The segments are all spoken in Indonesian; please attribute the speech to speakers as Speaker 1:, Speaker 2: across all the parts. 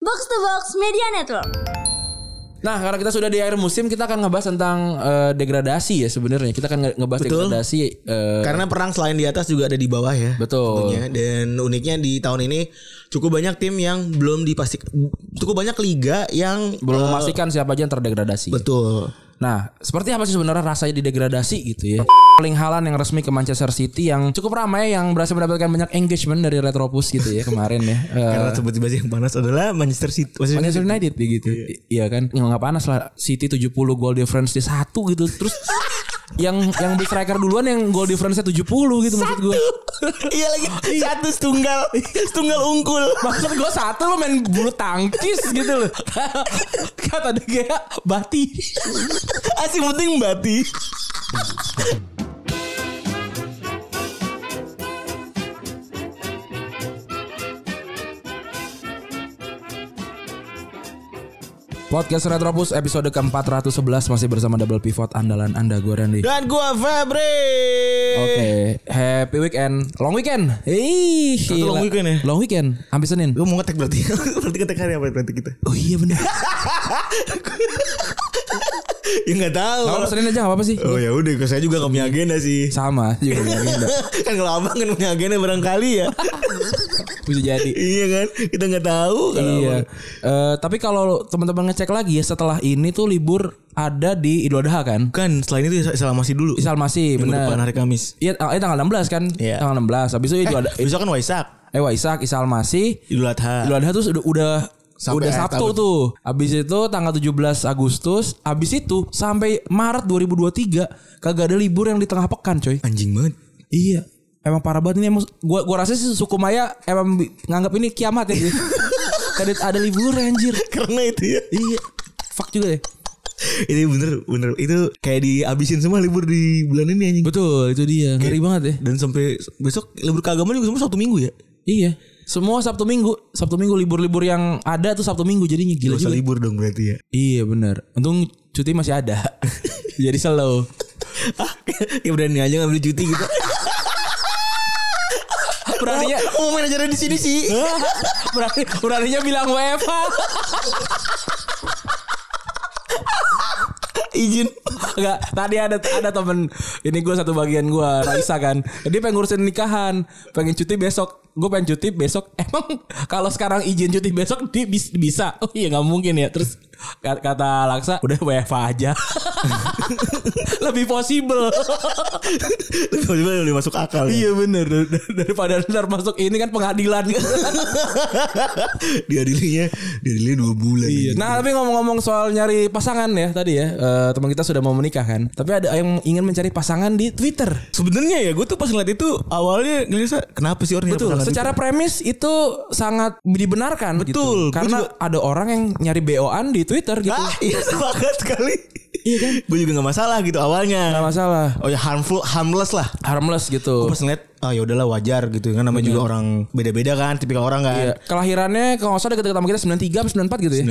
Speaker 1: Box to Box Media Network.
Speaker 2: Nah, karena kita sudah di akhir musim, kita akan ngebahas tentang eh, degradasi ya sebenarnya. Kita akan nge- ngebahas
Speaker 3: Betul.
Speaker 2: degradasi. eh,
Speaker 3: Karena perang selain di atas juga ada di bawah ya.
Speaker 2: Betul.
Speaker 3: tentunya. Dan uniknya di tahun ini cukup banyak tim yang belum dipastikan cukup banyak liga yang
Speaker 2: belum
Speaker 3: eh,
Speaker 2: memastikan siapa aja yang terdegradasi.
Speaker 3: betul.
Speaker 2: Nah, seperti apa sih sebenarnya rasanya didegradasi gitu ya? Paling halan yang resmi ke Manchester City yang cukup ramai yang berhasil mendapatkan banyak engagement dari Retropus gitu ya kemarin ya. Eh,
Speaker 3: Karena tiba-tiba yang panas adalah Manchester City.
Speaker 2: Manchester United ya gitu. I- Iya kan? Ya, nggak panas lah. City 70 goal difference di satu gitu. Terus yang yang big striker duluan yang goal difference-nya 70 gitu maksud gue.
Speaker 3: iya lagi satu setunggal setunggal ungkul.
Speaker 2: Maksud gue satu lu main bulu tangkis gitu loh. Kata De Gea, bati.
Speaker 3: Asing penting Bati.
Speaker 2: Podcast Retropus episode ke-411 masih bersama Double Pivot andalan Anda gue Randy.
Speaker 3: Dan gua Febri.
Speaker 2: Oke, happy weekend. Long weekend. Ih, gila.
Speaker 3: long weekend ya?
Speaker 2: Long weekend, sampai Senin.
Speaker 3: Gua mau ngetek berarti. berarti ngetek hari apa berarti kita?
Speaker 2: Oh iya benar.
Speaker 3: ya enggak tahu.
Speaker 2: Kalau Senin aja nggak apa-apa sih.
Speaker 3: Oh ya udah, saya juga nggak punya agenda sih.
Speaker 2: Sama juga punya agenda.
Speaker 3: kan kalau abang kan punya agenda barangkali ya.
Speaker 2: bisa jadi.
Speaker 3: iya kan, kita nggak tahu. Kalau
Speaker 2: Iya.
Speaker 3: abang-
Speaker 2: Eh, tapi kalau teman-teman ngecek lagi ya setelah ini tuh libur ada di Idul Adha kan?
Speaker 3: Kan selain itu salah masih dulu.
Speaker 2: Misal masih
Speaker 3: Minggu depan
Speaker 2: benar.
Speaker 3: hari Kamis.
Speaker 2: Iya, tang- eh, tanggal 16 kan?
Speaker 3: Iya.
Speaker 2: Tanggal 16. Habis itu Idul Adha.
Speaker 3: Besok kan Waisak,
Speaker 2: Eh, Waisak, Isal masih.
Speaker 3: Idul Adha.
Speaker 2: Idul Adha tuh udah udah
Speaker 3: Sampai
Speaker 2: udah
Speaker 3: akhir
Speaker 2: Iya. Sabtu
Speaker 3: tahun.
Speaker 2: tuh. Habis itu tanggal 17 Agustus, habis itu sampai Maret 2023 kagak ada libur yang di tengah pekan, coy.
Speaker 3: Anjing banget.
Speaker 2: Iya. Emang parah banget ini emang gua gua rasa sih suku Maya emang bi- nganggap ini kiamat ya. Kadit ada libur anjir.
Speaker 3: Karena itu ya.
Speaker 2: Iya. Fuck juga deh.
Speaker 3: Ini bener bener itu kayak dihabisin semua libur di bulan ini anjing.
Speaker 2: Betul, itu dia. Ngeri banget ya.
Speaker 3: Dan sampai besok libur keagamaan juga semua satu minggu ya.
Speaker 2: Iya. Semua Sabtu Minggu, Sabtu Minggu libur-libur yang ada tuh Sabtu Minggu jadinya gila
Speaker 3: Gak usah
Speaker 2: juga.
Speaker 3: libur dong berarti ya.
Speaker 2: Iya benar. Untung cuti masih ada. Jadi slow.
Speaker 3: ah, kayak berani aja ngambil cuti gitu.
Speaker 2: Beraninya
Speaker 3: Oh, manajernya di sini sih.
Speaker 2: berani, beraninya bilang WFH.
Speaker 3: Izin.
Speaker 2: Enggak, tadi ada ada temen ini gue satu bagian gue Raisa kan. Dia pengen ngurusin nikahan, pengen cuti besok. Gue pengen cuti besok. Emang kalau sekarang izin cuti besok dia bis- bisa. Oh iya nggak mungkin ya. Terus ka- kata Laksa udah WFH aja. Lebih possible.
Speaker 3: Tiba-tiba udah masuk akal. ya.
Speaker 2: iya bener Dar- daripada ntar masuk ini kan pengadilan.
Speaker 3: diadilinya diadilinya dua bulan
Speaker 2: Iya.
Speaker 3: nah
Speaker 2: Nah tapi ngomong-ngomong soal nyari pasangan ya tadi ya Eh, teman kita sudah mau menikah kan. Tapi ada yang ingin mencari pasangan di Twitter.
Speaker 3: sebenarnya ya gue tuh pas ngeliat itu awalnya ngerasa kenapa sih
Speaker 2: Betul.
Speaker 3: orang nyari pasangan
Speaker 2: Secara premis itu sangat dibenarkan. gitu.
Speaker 3: Betul, gua
Speaker 2: Karena
Speaker 3: juga-
Speaker 2: ada orang yang nyari BO-an di Twitter gitu.
Speaker 3: gitu? ah iya sepakat sekali iya kan gue juga nggak masalah gitu
Speaker 2: Nggak
Speaker 3: awalnya
Speaker 2: masalah.
Speaker 3: oh ya harmful harmless lah
Speaker 2: Harmless gitu.
Speaker 3: pas ngeliat ah ya udahlah wajar gitu kan namanya juga orang beda-beda kan tipikal orang kan
Speaker 2: Iya. Kelahirannya kalau nggak salah deket-deket sama kita 93 atau 94 gitu ya?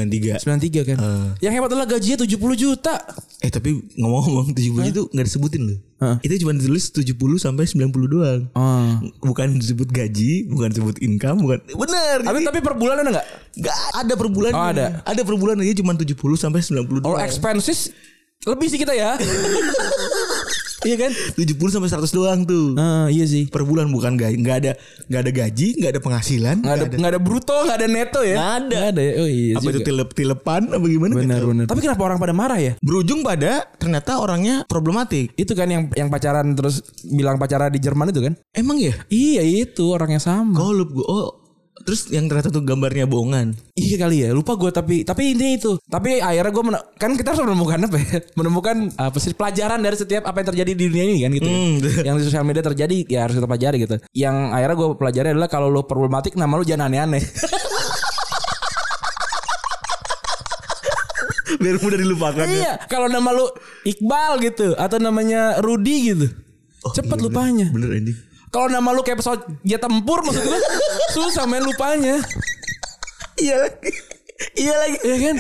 Speaker 2: 93
Speaker 3: 93.
Speaker 2: kan.
Speaker 3: Eh.
Speaker 2: Yang hebat adalah gajinya 70 juta.
Speaker 3: eh tapi ngomong-ngomong 70 itu nggak disebutin loh
Speaker 2: Hah?
Speaker 3: itu cuma ditulis 70 sampai 90 doang
Speaker 2: Oh.
Speaker 3: Ah. bukan disebut gaji bukan disebut income bukan bener
Speaker 2: Tapi, tapi per bulan ada nggak?
Speaker 3: Gak ada per bulan.
Speaker 2: Oh, ada. Oh, eh.
Speaker 3: Ada per bulan aja cuma 70 sampai 90
Speaker 2: All
Speaker 3: doang.
Speaker 2: expenses lebih sih kita ya. iya kan?
Speaker 3: 70 sampai 100 doang tuh.
Speaker 2: Eh, iya sih.
Speaker 3: Per bulan bukan gaji, nggak ada nggak ada gaji, nggak ada penghasilan,
Speaker 2: Nggak ada, nggak ada bruto, nggak ada neto ya.
Speaker 3: Nggak ada.
Speaker 2: Nggak ada ya. Oh iya.
Speaker 3: apa itu
Speaker 2: juga.
Speaker 3: tilep-tilepan apa gimana? nggak
Speaker 2: Benar
Speaker 3: tahu.
Speaker 2: benar. Tapi kenapa orang pada marah ya?
Speaker 3: Berujung pada ternyata orangnya problematik.
Speaker 2: Itu kan yang yang pacaran terus bilang pacaran di Jerman itu kan?
Speaker 3: Emang ya?
Speaker 2: Iya itu orang yang sama.
Speaker 3: Golub gue. Oh, terus yang ternyata tuh gambarnya bohongan.
Speaker 2: Iya kali ya. Lupa gue tapi tapi ini itu. Tapi akhirnya gue kan kita harus menemukan apa ya? Menemukan apa sih pelajaran dari setiap apa yang terjadi di dunia ini kan gitu. ya. Yang di sosial media terjadi ya harus kita pelajari gitu. Yang akhirnya gue pelajari adalah kalau lo problematik nama lo jangan aneh-aneh.
Speaker 3: Biar mudah dilupakan. ya.
Speaker 2: iya. Kalau nama lo Iqbal gitu atau namanya Rudi gitu.
Speaker 3: Oh,
Speaker 2: Cepet
Speaker 3: iya,
Speaker 2: lupanya.
Speaker 3: Bener bener, anjing.
Speaker 2: Kalau nama lu kayak pesawat jet tempur maksud gue susah main lupanya.
Speaker 3: Iya lagi. Iya lagi.
Speaker 2: Iya kan?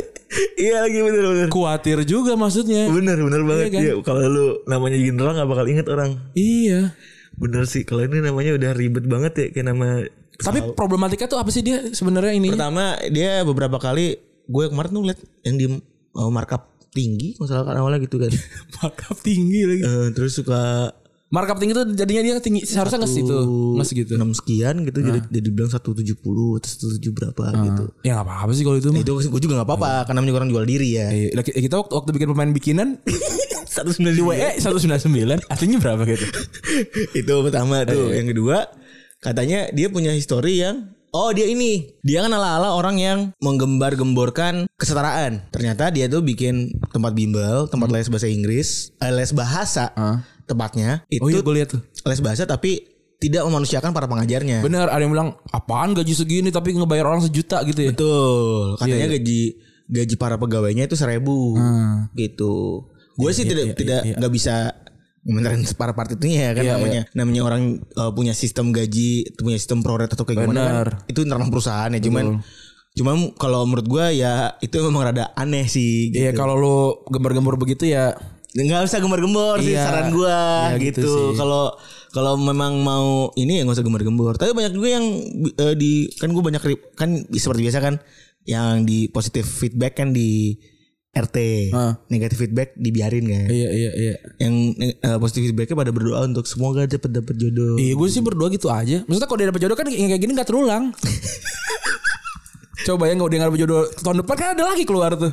Speaker 3: Iya lagi bener bener.
Speaker 2: Kuatir juga maksudnya.
Speaker 3: Bener bener banget
Speaker 2: kan?
Speaker 3: Iya, Kalau lu namanya Gendra nggak bakal inget orang
Speaker 2: Iya.
Speaker 3: Bener sih Kalau ini namanya udah ribet banget ya Kayak nama
Speaker 2: Tapi problematika tuh apa sih dia sebenarnya ini?
Speaker 3: Pertama dia beberapa kali gue kemarin tuh liat yang di uh, markup tinggi masalah awalnya gitu kan.
Speaker 2: Markup tinggi lagi.
Speaker 3: Eh, terus suka
Speaker 2: Markup tinggi tuh jadinya dia tinggi seharusnya nggak situ, nggak segitu.
Speaker 3: 6 sekian gitu
Speaker 2: Nah.
Speaker 3: jadi jadi bilang 170 terus 170 berapa gitu.
Speaker 2: Ya nggak apa-apa sih kalau itu mah.
Speaker 3: Itu gue juga gak
Speaker 2: Ah.
Speaker 3: apa-apa karena namanya orang jual diri ya.
Speaker 2: Eh, lah, kita waktu, waktu bikin pemain bikinan E
Speaker 3: 192
Speaker 2: WE 199 artinya berapa gitu?
Speaker 3: itu
Speaker 2: Eh,
Speaker 3: pertama
Speaker 2: iya.
Speaker 3: tuh. Yang kedua katanya dia punya histori yang Oh dia ini Dia kan ala-ala orang yang Menggembar-gemborkan kesetaraan Ternyata dia tuh bikin Tempat bimbel Tempat les bahasa Inggris eh, Les bahasa
Speaker 2: Hmm. Ah.
Speaker 3: Tepatnya Itu
Speaker 2: Oh iya gue lihat tuh.
Speaker 3: les bahasa tapi Tidak memanusiakan para pengajarnya
Speaker 2: Bener ada yang bilang apaan gaji segini tapi ngebayar orang sejuta gitu ya.
Speaker 3: Betul Katanya gaji Gaji para pegawainya itu seribu
Speaker 2: iya. Hmm.
Speaker 3: Gitu Gue sih
Speaker 2: iya,
Speaker 3: tidak
Speaker 2: iya,
Speaker 3: tidak nggak bisa Ngomentarin para part itunya ya kan
Speaker 2: Iya,
Speaker 3: namanya namanya orang uh, punya sistem gaji punya sistem proret atau kayak gimana
Speaker 2: Benar.
Speaker 3: kan itu internal perusahaan ya cuman cuman kalau menurut gue ya itu memang rada aneh sih
Speaker 2: Iya
Speaker 3: gitu.
Speaker 2: kalau lu gembar-gembar begitu ya
Speaker 3: nggak usah gembar-gembor sih
Speaker 2: Iya.
Speaker 3: saran gue
Speaker 2: Iya, gitu
Speaker 3: gitu
Speaker 2: sih.
Speaker 3: kalau kalau memang mau ini ya nggak usah gembar-gembor tapi banyak juga yang eh, di kan gue banyak rip- kan seperti biasa kan yang di positive feedback kan di RT
Speaker 2: Ah.
Speaker 3: negatif feedback dibiarin kan
Speaker 2: iya iya iya.
Speaker 3: yang eh, positif feedbacknya pada berdoa untuk semoga dapat dapat jodoh
Speaker 2: Iya gue sih berdua gitu aja. Maksudnya kalau dia dapet jodoh kan yang kayak gini gak terulang. Coba ya nggak dia nggak dapet jodoh tahun depan kan ada lagi keluar tuh.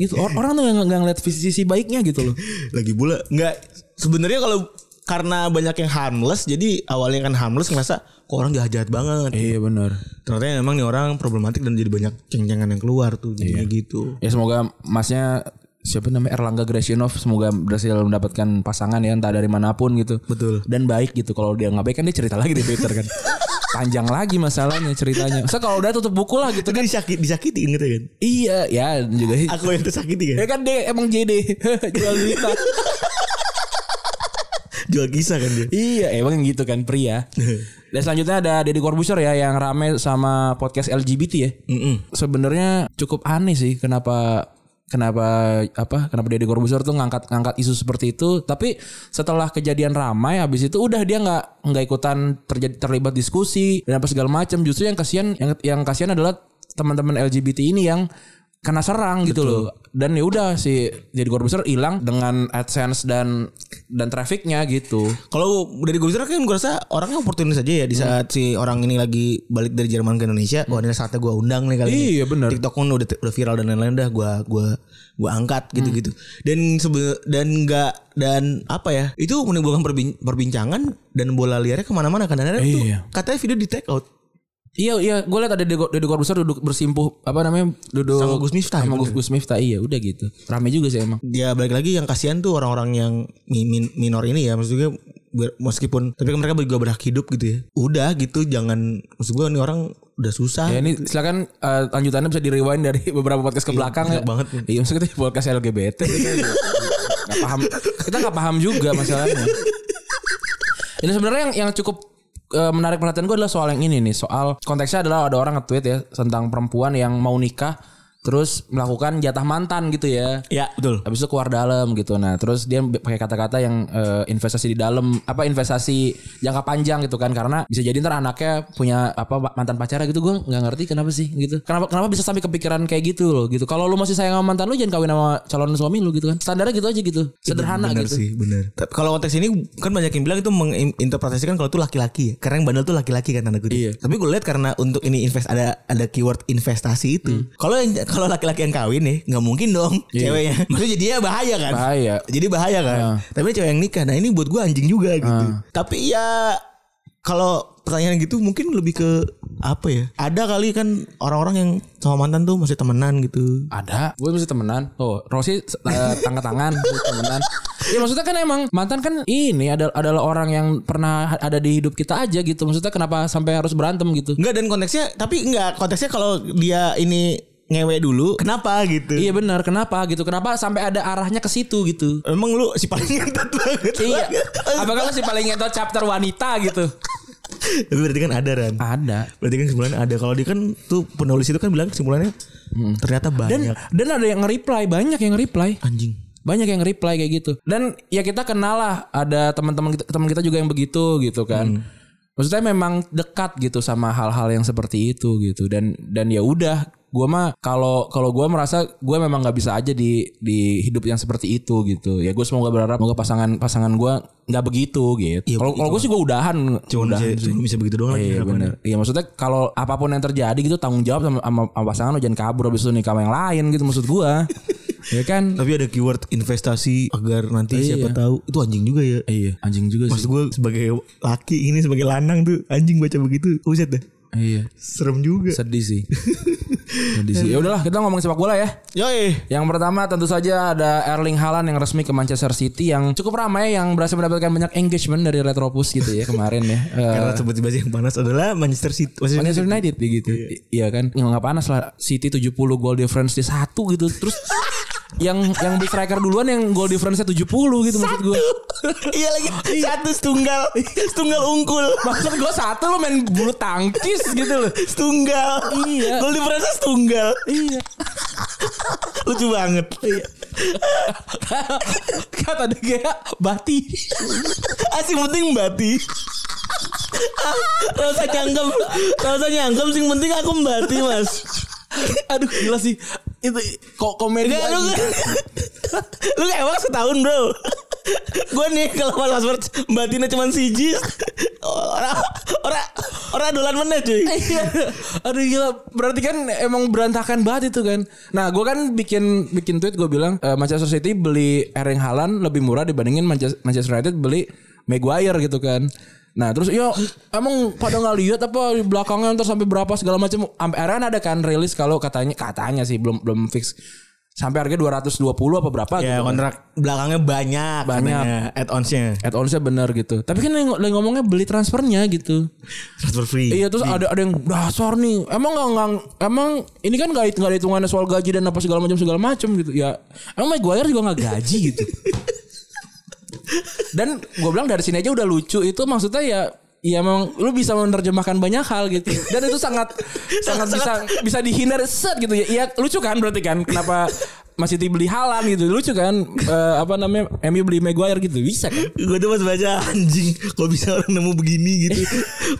Speaker 2: Itu or- orang tuh nggak nggak ngeliat sisi sisi baiknya gitu loh.
Speaker 3: lagi pula nggak sebenarnya kalau karena banyak yang harmless jadi awalnya kan harmless ngerasa kok orang jahat jahat banget
Speaker 2: Iya benar.
Speaker 3: ternyata memang nih orang problematik dan jadi banyak cengcengan yang keluar tuh jadinya gitu
Speaker 2: Ya semoga masnya siapa namanya Erlangga Grasinov semoga berhasil mendapatkan pasangan ya entah dari manapun gitu.
Speaker 3: Betul.
Speaker 2: Dan baik gitu. Kalau dia nggak baik kan dia cerita lagi di Twitter kan. Panjang lagi masalahnya ceritanya. Masa kalau udah tutup buku lah gitu.
Speaker 3: itu kan disakit disakitin gitu kan
Speaker 2: Iya, ya juga
Speaker 3: aku yang tersakiti kan
Speaker 2: Ya kan dia emang JD Jual cerita
Speaker 3: jual kisah kan dia
Speaker 2: Iya emang gitu kan pria Dan selanjutnya ada Deddy Corbuzier ya Yang rame sama podcast LGBT ya
Speaker 3: Mm-mm.
Speaker 2: Sebenarnya cukup aneh sih Kenapa Kenapa apa kenapa Deddy Corbuzier tuh ngangkat ngangkat isu seperti itu tapi setelah kejadian ramai habis itu udah dia nggak nggak ikutan terjadi terlibat diskusi dan apa segala macam justru yang kasihan yang yang kasihan adalah teman-teman LGBT ini yang kena serang gitu loh dan ya udah si jadi Corbuzier hilang dengan adsense dan dan trafficnya gitu
Speaker 3: kalau dari gue kan gue rasa orangnya oportunis aja ya di saat si orang ini lagi balik dari Jerman ke Indonesia wah ini saatnya gue undang nih kali ini.
Speaker 2: Iya, benar.
Speaker 3: TikTok pun udah udah viral dan lain-lain dah gue gua gua angkat gitu-gitu dan sebe- dan nggak dan apa ya itu menimbulkan perbin- perbincangan dan bola liarnya kemana-mana kan dan ada tuh
Speaker 2: Iya.
Speaker 3: katanya video di take out
Speaker 2: Iya iya, gue liat ada Deddy Deddy Corbuzier duduk bersimpuh apa namanya duduk
Speaker 3: Sama Gus Miftah, kan?
Speaker 2: sama Gus,
Speaker 3: bener.
Speaker 2: Gus Miftah iya udah gitu rame juga sih emang.
Speaker 3: ya balik lagi yang kasihan tuh orang-orang yang mi- min- minor ini ya maksudnya biar- meskipun tapi kan mereka juga berhak hidup gitu ya udah gitu jangan maksud gue ini orang udah susah
Speaker 2: Ya ini silakan eh, lanjutannya bisa di rewind dari beberapa podcast ke belakang
Speaker 3: banyak
Speaker 2: ya.
Speaker 3: banget. Iya,
Speaker 2: Iya maksudnya kita podcast LGBT. gak paham. Kita nggak paham juga masalahnya. Ini sebenarnya yang yang cukup eh, menarik perhatian gue adalah soal yang ini nih. Soal konteksnya adalah ada orang nge-tweet ya tentang perempuan yang mau nikah terus melakukan jatah mantan gitu ya.
Speaker 3: ya betul
Speaker 2: Habis itu keluar dalam gitu. Nah, terus dia pakai kata-kata yang eh, investasi di dalam apa investasi jangka panjang gitu kan karena bisa jadi ntar anaknya punya apa mantan pacarnya gitu gue nggak ngerti kenapa sih gitu. Kenapa kenapa bisa sampai kepikiran kayak gitu loh gitu. Kalau lu masih sayang sama mantan lu jangan kawin sama calon suami lu gitu kan. Standarnya gitu aja gitu. Sederhana
Speaker 3: Iya, bener
Speaker 2: gitu.
Speaker 3: sih bener Tapi kalau konteks ini kan banyak yang bilang itu menginterpretasikan kalau itu laki-laki ya karena yang bandel tuh laki-laki kan tanda kutip
Speaker 2: Iya.
Speaker 3: tapi gue lihat karena untuk ini invest ada ada keyword investasi itu kalau yang kalau laki-laki yang kawin nih nggak mungkin dong ceweknya maksudnya jadi ya Iya. bahaya kan
Speaker 2: Bahaya.
Speaker 3: jadi bahaya kan tapi cewek yang nikah nah ini buat gue anjing juga gitu tapi ya kalau pertanyaan gitu mungkin lebih ke apa ya ada kali kan orang-orang yang sama mantan tuh masih temenan gitu
Speaker 2: Ada, gue masih temenan. Oh, Rosi eh, tangga tangan, gua temenan. Ya maksudnya kan emang mantan kan ini ada- adalah orang yang pernah ada di hidup kita aja gitu. Maksudnya kenapa sampai harus berantem gitu?
Speaker 3: Enggak dan konteksnya tapi enggak konteksnya kalau dia ini ngewe dulu kenapa gitu.
Speaker 2: Iya benar, kenapa gitu? Kenapa sampai ada arahnya ke situ gitu?
Speaker 3: Emang lu si paling ngentot banget.
Speaker 2: Iya. Apakah lu sih paling ngentot chapter wanita gitu?
Speaker 3: Tapi berarti kan ada kan.
Speaker 2: Ada.
Speaker 3: Berarti kan kesimpulannya ada. Kalau dia kan tuh penulis itu kan bilang kesimpulannya ternyata
Speaker 2: Dan
Speaker 3: banyak
Speaker 2: dan ada yang nge-reply, banyak yang nge-reply.
Speaker 3: anjing.
Speaker 2: Banyak yang nge-reply kayak gitu. Dan ya kita kenal lah ada teman-teman kita, teman kita juga yang begitu gitu kan. Eh maksudnya memang dekat gitu sama hal-hal yang seperti itu gitu dan dan ya udah gue mah kalau kalau gue merasa gue memang nggak bisa aja di di hidup yang seperti itu gitu ya gue semoga berharap semoga pasangan pasangan gue nggak begitu gitu
Speaker 3: Iya,
Speaker 2: kalau kalau gue sih gue udahan
Speaker 3: Cuma
Speaker 2: udahan
Speaker 3: bisa,
Speaker 2: sih.
Speaker 3: cuma bisa begitu doang lagi
Speaker 2: Iya
Speaker 3: harapannya.
Speaker 2: benar. Iya maksudnya kalau apapun yang terjadi gitu tanggung jawab sama, sama, sama pasangan lo jangan kabur habis itu nikah sama yang lain gitu maksud gua. ya kan?
Speaker 3: Tapi ada keyword investasi agar nanti
Speaker 2: Iya.
Speaker 3: siapa tahu itu anjing juga ya.
Speaker 2: Iya, anjing juga
Speaker 3: Maksud gue sebagai laki ini sebagai lanang tuh anjing baca begitu uset deh.
Speaker 2: Iya,
Speaker 3: Serem juga.
Speaker 2: sedih sih. sedih sih. Ya udahlah, kita ngomongin sepak bola ya.
Speaker 3: Yoi.
Speaker 2: Yang pertama tentu saja ada Erling Haaland yang resmi ke Manchester City yang cukup ramai yang berhasil mendapatkan banyak engagement dari Retropus gitu ya kemarin ya. Eh,
Speaker 3: Karena sebut tiba yang panas adalah Manchester City.
Speaker 2: Manchester
Speaker 3: Manchester
Speaker 2: United ya gitu. I- Iya kan? Ya enggak panas lah. City 70 goal difference di satu gitu. Terus yang yang big striker duluan yang goal difference-nya 70 gitu maksud gue.
Speaker 3: iya lagi satu setunggal, setunggal ungkul,
Speaker 2: Maksud gue satu lo main bulu tangkis gitu loh.
Speaker 3: setunggal.
Speaker 2: Iya.
Speaker 3: Gol di Prancis setunggal.
Speaker 2: Iya.
Speaker 3: Lucu banget.
Speaker 2: Kata De Gea bati.
Speaker 3: Asing penting mbati. Ah, Rasa nyangkem, rasa nyangkem sing penting aku mbati mas.
Speaker 2: Aduh gila sih. Itu kok komedi
Speaker 3: Enggak Eh, lu Lu emang setahun bro Gue nih kalau pas password Batina cuma siji Orang Orang Orang dolan meneh cuy
Speaker 2: Iya. Aduh gila. Berarti kan emang berantakan banget itu kan. Nah, gue kan bikin bikin tweet gue bilang eh, Manchester City beli Erling Haaland lebih murah dibandingin Manchester, Manchester United beli Maguire gitu kan. Nah terus yo emang pada nggak lihat apa di belakangnya ntar sampai berapa segala macam. Sampai akhirnya kan ada kan rilis kalau katanya katanya sih belum belum fix sampai harga 220 apa berapa gitu. kan.
Speaker 3: Ya kontrak belakangnya banyak
Speaker 2: Banyak.
Speaker 3: katanya, Add onsnya
Speaker 2: Add onsnya bener gitu. Tapi kan yang yang ngomongnya beli transfernya gitu.
Speaker 3: Transfer free
Speaker 2: Iya terus ada ada yang dasar nih. Emang nggak nggak emang ini kan nggak hit- nggak ada hitungannya soal gaji dan apa segala macam segala macam gitu. Ya emang Maguire juga nggak gaji gitu. dan gue bilang dari sini aja udah lucu itu maksudnya ya ya memang lu bisa menerjemahkan banyak hal gitu dan itu sangat sangat bisa bisa dihindari set gitu ya iya lucu kan berarti kan kenapa masih beli halan gitu lucu kan Eh, apa namanya MU beli Maguire gitu bisa kan
Speaker 3: Gue tuh pas baca anjing Kok bisa orang nemu begini gitu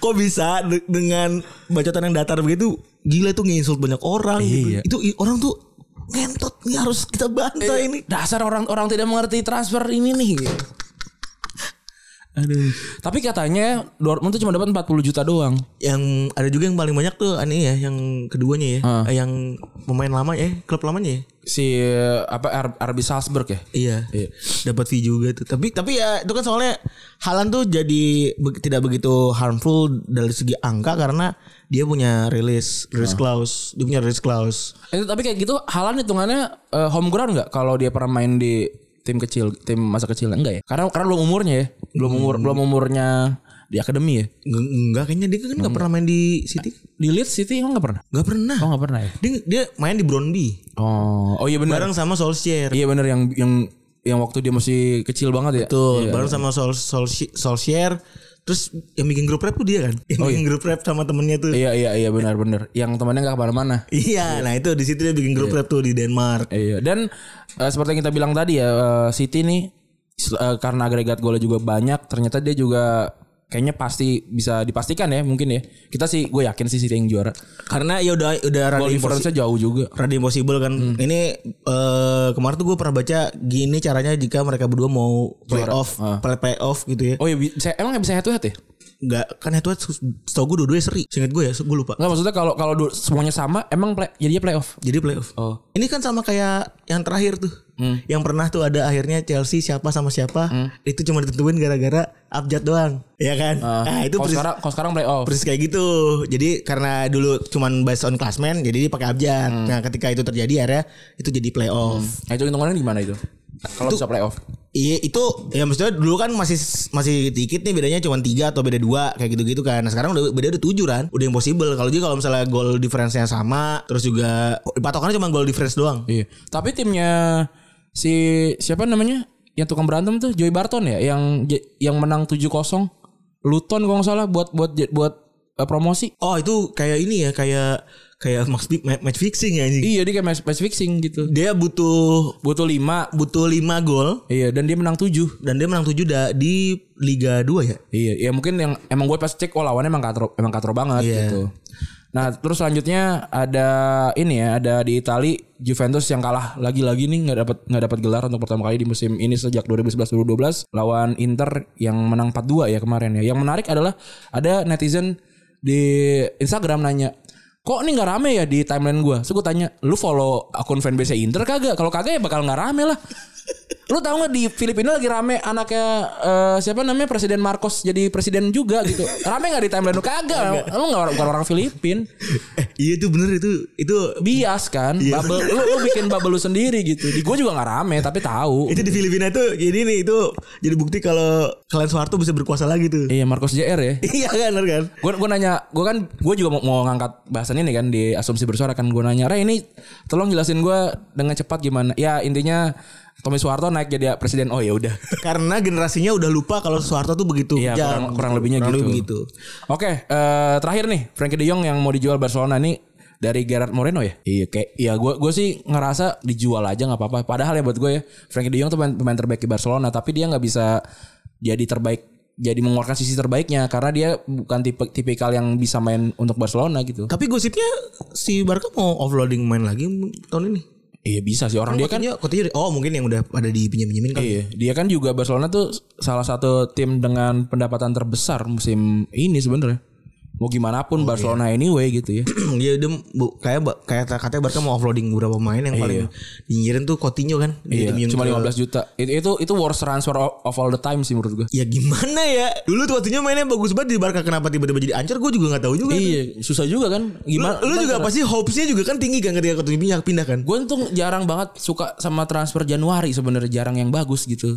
Speaker 3: Kok bisa de- dengan Bacotan yang datar begitu Gila tuh nginsult banyak orang
Speaker 2: Iya.
Speaker 3: gitu Itu i- orang tuh Ngentot nih harus kita bantai
Speaker 2: Iya.
Speaker 3: ini
Speaker 2: dasar orang-orang tidak mengerti transfer ini nih. Aduh. Tapi katanya Dortmund tuh cuma dapat 40 juta doang.
Speaker 3: yang ada juga yang paling banyak tuh aneh ya yang keduanya ya
Speaker 2: Ah.
Speaker 3: Eh, yang pemain lama ya klub lamanya ya
Speaker 2: Si eh, apa R- RB Salzburg ya?
Speaker 3: iya,
Speaker 2: Iya.
Speaker 3: dapat fee juga tuh tapi tapi ya itu kan soalnya Halan tuh jadi be- tidak begitu harmful dari segi angka karena dia punya rilis
Speaker 2: Ah.
Speaker 3: rilis clause dia punya rilis clause
Speaker 2: Itu tapi kayak gitu Halan hitungannya eh, home ground nggak kalau dia pernah main di tim kecil, tim masa kecil enggak ya? Karena karena belum umurnya ya. Belum umur belum umurnya di akademi ya.
Speaker 3: Nge- enggak kayaknya dia kan nggak pernah main di City
Speaker 2: Di Leeds City emang nggak pernah.
Speaker 3: nggak pernah
Speaker 2: Hmm. Oh nggak pernah ya.
Speaker 3: dia dia main di Brondby
Speaker 2: Oh, oh iya benar.
Speaker 3: bareng sama Solskjaer
Speaker 2: Iya benar yang yang yang waktu dia masih kecil banget ya. Iya.
Speaker 3: Betul, baru sama Sol, Sol, Solskjaer. Terus yang bikin grup rap tuh dia kan? Yang
Speaker 2: Oh,
Speaker 3: bikin grup rap sama temennya tuh.
Speaker 2: Iya iya iya benar benar. Yang temannya nggak kemana-mana.
Speaker 3: Iya, nah itu di situ dia bikin grup rap tuh di Denmark.
Speaker 2: Iya dan eh, seperti yang kita bilang tadi ya eh, City nih sel- eh, karena agregat golnya juga banyak ternyata dia juga kayaknya pasti bisa dipastikan ya mungkin ya kita sih gue yakin sih City yang juara
Speaker 3: Karena ya udah udah
Speaker 2: gol
Speaker 3: radio impossible.
Speaker 2: difference-nya jauh juga
Speaker 3: Radio impossible kan. Ini eh, kemarin tuh gue pernah baca gini caranya jika mereka berdua mau playoff, play playoff gitu ya.
Speaker 2: oh iya bisa emang nggak bisa head to head ya
Speaker 3: Enggak kan itu setahu gue dua-duanya seri. Singkat gue ya, gue lupa.
Speaker 2: nggak maksudnya kalau kalau du- semuanya sama emang play, jadinya playoff
Speaker 3: Jadi playoff.
Speaker 2: Oh.
Speaker 3: Ini kan sama kayak yang terakhir tuh. Yang pernah tuh ada akhirnya Chelsea siapa sama siapa. Itu cuma ditentuin gara-gara abjad doang. Iya kan? nah
Speaker 2: Eh,
Speaker 3: itu
Speaker 2: kalau
Speaker 3: persis,
Speaker 2: sekarang kalau sekarang playoff
Speaker 3: persis kayak gitu. Jadi karena dulu cuman based on klasmen jadi dia pakai abjad. Nah ketika itu terjadi akhirnya itu jadi playoff.
Speaker 2: nah, itu hitungannya gimana itu kalau bisa playoff
Speaker 3: Iya itu ya maksudnya dulu kan masih masih dikit nih bedanya cuma tiga atau beda dua kayak gitu-gitu kan. Nah, sekarang udah beda udah tujuh kan. Udah impossible kalau jadi kalau misalnya goal difference-nya sama terus juga oh, patokannya cuma goal difference doang.
Speaker 2: iya tapi timnya si siapa namanya yang tukang berantem tuh Joey Barton ya yang yang menang 7-0 Luton kalau nggak salah buat buat buat eh, promosi
Speaker 3: Oh itu kayak ini ya kayak kayak match, fi- ma- match fixing ya anjing.
Speaker 2: Iya dia kayak match, match fixing gitu.
Speaker 3: Dia butuh
Speaker 2: Butuh 5.
Speaker 3: butuh 5 gol
Speaker 2: Iya dan dia menang 7.
Speaker 3: dan dia menang 7 da- di Liga 2 ya.
Speaker 2: Iya, ya mungkin yang emang gue pas cek oh lawannya emang katro emang katro banget
Speaker 3: Iya.
Speaker 2: gitu. Nah, terus selanjutnya ada ini ya, ada di Itali Juventus yang kalah lagi-lagi nih nggak dapat nggak dapat gelar untuk pertama kali di musim ini sejak 2011-2012 lawan Inter yang menang 4-2 ya kemarin ya. Yang menarik adalah ada netizen di Instagram nanya, "Kok ini nggak rame ya di timeline gua?" Terus gue tanya, "Lu follow akun fanbase Inter kagak? Kalau kagak ya bakal nggak rame lah." Lu tahu nggak di Filipina lagi rame anaknya eh, siapa namanya Presiden Marcos jadi presiden juga gitu. Rame nggak di timeline lu kagak? Lu nggak orang- bukan orang Filipin.
Speaker 3: Eh, iya itu bener itu itu
Speaker 2: Bias kan? Bubble, lu, lu bikin bubble lu sendiri gitu. Di gua juga nggak rame tapi tahu.
Speaker 3: itu di Filipina tuh jadi nih itu jadi bukti kalau kalian Soeharto bisa berkuasa lagi tuh.
Speaker 2: Iya Marcos JR ya.
Speaker 3: Iya kan bener kan?
Speaker 2: Gue gue nanya, gue kan gue juga mau, mau ngangkat bahasan ini kan di asumsi bersuara kan gue nanya, Re ini tolong jelasin gue dengan cepat gimana? Ya intinya Tommy Soeharto naik jadi presiden. Oh ya udah.
Speaker 3: Karena generasinya udah lupa kalau Soeharto tuh begitu.
Speaker 2: Iya kurang,
Speaker 3: Jangan.
Speaker 2: kurang lebihnya
Speaker 3: Kurang
Speaker 2: gitu.
Speaker 3: lebih begitu.
Speaker 2: Oke, eh, terakhir nih Frankie De Jong yang mau dijual Barcelona nih dari Gerard Moreno ya. Iya kayak ya gue gue sih ngerasa dijual aja nggak apa-apa. Padahal ya buat gue ya Frankie De Jong tuh pemain, pemain terbaik di Barcelona tapi dia nggak bisa jadi terbaik jadi mengeluarkan sisi terbaiknya karena dia bukan tipe tipikal yang bisa main untuk Barcelona gitu.
Speaker 3: Tapi gosipnya si Barca mau offloading main lagi tahun ini.
Speaker 2: Iya bisa sih orang dia kan
Speaker 3: Coutinho- Coutinho- oh mungkin yang udah pada dipinjam-pinjamin kan.
Speaker 2: Iya, dia kan juga Barcelona tuh salah satu tim dengan pendapatan terbesar musim ini sebenarnya. Mau gimana pun Barcelona anyway gitu ya.
Speaker 3: dia dia bu- kayak ba- kayak katanya Barca mau offloading beberapa pemain yang paling nyinyirin tuh Coutinho kan.
Speaker 2: Iya,
Speaker 3: Dipinjam
Speaker 2: cuma
Speaker 3: ke-
Speaker 2: 15 juta. Itu itu itu worst transfer of of all the time sih menurut gua.
Speaker 3: Ya gimana ya? Dulu tuh Coutinho mainnya bagus banget di Barca kenapa tiba-tiba jadi ancur gue juga nggak tahu juga.
Speaker 2: Iya, susah juga kan.
Speaker 3: Lu,
Speaker 2: Gimana?
Speaker 3: lu juga pasti hopesnya juga kan tinggi kan ketika Coutinho pindah, pindah kan?
Speaker 2: Gue untung jarang banget suka sama transfer Januari sebenarnya jarang yang bagus gitu.